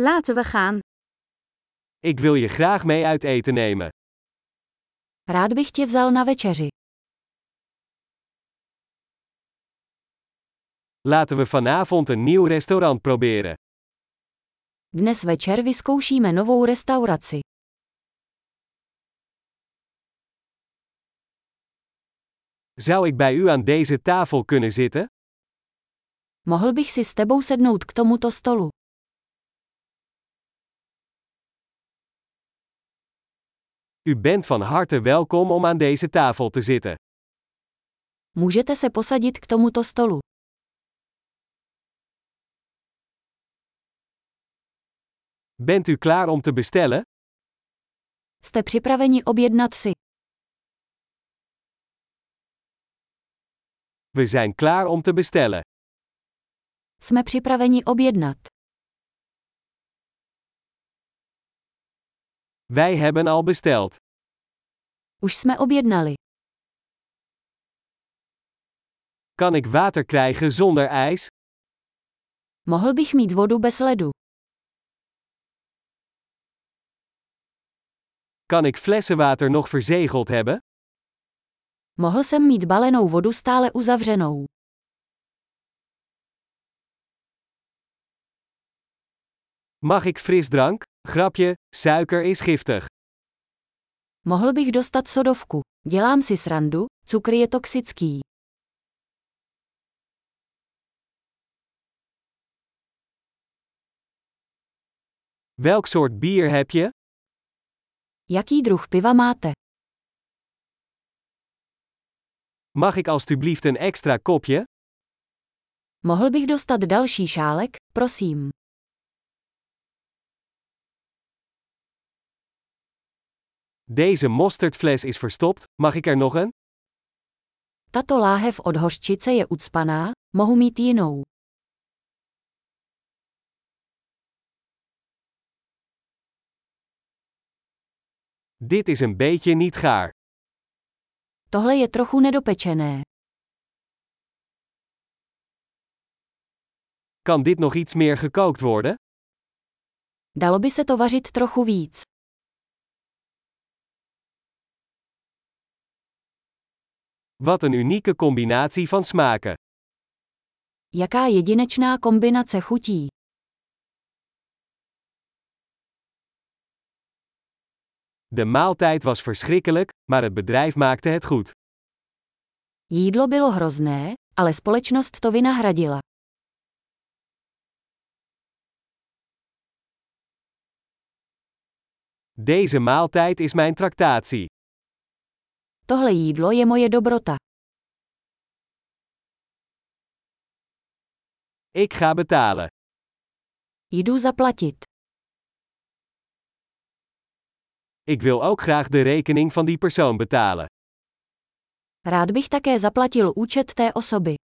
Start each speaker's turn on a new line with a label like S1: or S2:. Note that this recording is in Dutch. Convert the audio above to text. S1: Laten we gaan.
S2: Ik wil je graag mee uit eten nemen.
S1: Rád bych tě vzal na večeři.
S2: Laten we vanavond een nieuw restaurant proberen.
S1: Dnes večer vyzkoušíme novou restauraci.
S2: Zou ik bij u aan deze tafel kunnen zitten?
S1: Mohl bych si s tebou sednout k tomuto stolu.
S2: U bent van harte welkom om aan deze tafel te zitten.
S1: Můžete se posadit k tomuto stolu.
S2: Bent u klaar om te bestellen?
S1: Jste připraveni objednat si.
S2: We zijn klaar om te bestellen.
S1: Jsme připraveni objednat.
S2: Wij hebben al besteld.
S1: Už jsme objednali.
S2: Kan ik water krijgen zonder ijs?
S1: Mohl bych mít vodu bez ledu.
S2: Kan ik flessenwater nog verzegeld hebben?
S1: Mohl jsem mít balenou vodu stále uzavřenou.
S2: Mag ik frisdrank? Grapje, suiker is giftig.
S1: Mohl bych dostat sodovku. Dělám si srandu, cukr je toxický.
S2: Welk soort bier heb je?
S1: Jaký druh piva máte?
S2: Mag ik alstublieft een extra kopje?
S1: Mohl bych dostat další šálek, prosím.
S2: Deze mosterdfles is verstopt, mag ik er nog een?
S1: Tato láhev od hořčice je ucpaná, mohu mít jinou.
S2: Dit is een beetje niet gaar.
S1: Tohle je trochu nedopečené.
S2: Kan dit nog iets meer gekookt worden?
S1: Dalo by se to vařit trochu víc.
S2: Wat een unieke combinatie van smaken.
S1: Jaká jedinečná kombinace chutí.
S2: De maaltijd was verschrikkelijk, maar het bedrijf maakte het goed.
S1: Jídlo bylo hrozné, ale společnost to vynahradila.
S2: Deze maaltijd is mijn tractatie.
S1: Tohle jídlo je moje dobrota.
S2: Ik ga betalen.
S1: Jdu zaplatit.
S2: Ik wil ook graag de rekening van die persoon betalen.
S1: Rád bych také zaplatil účet té osoby.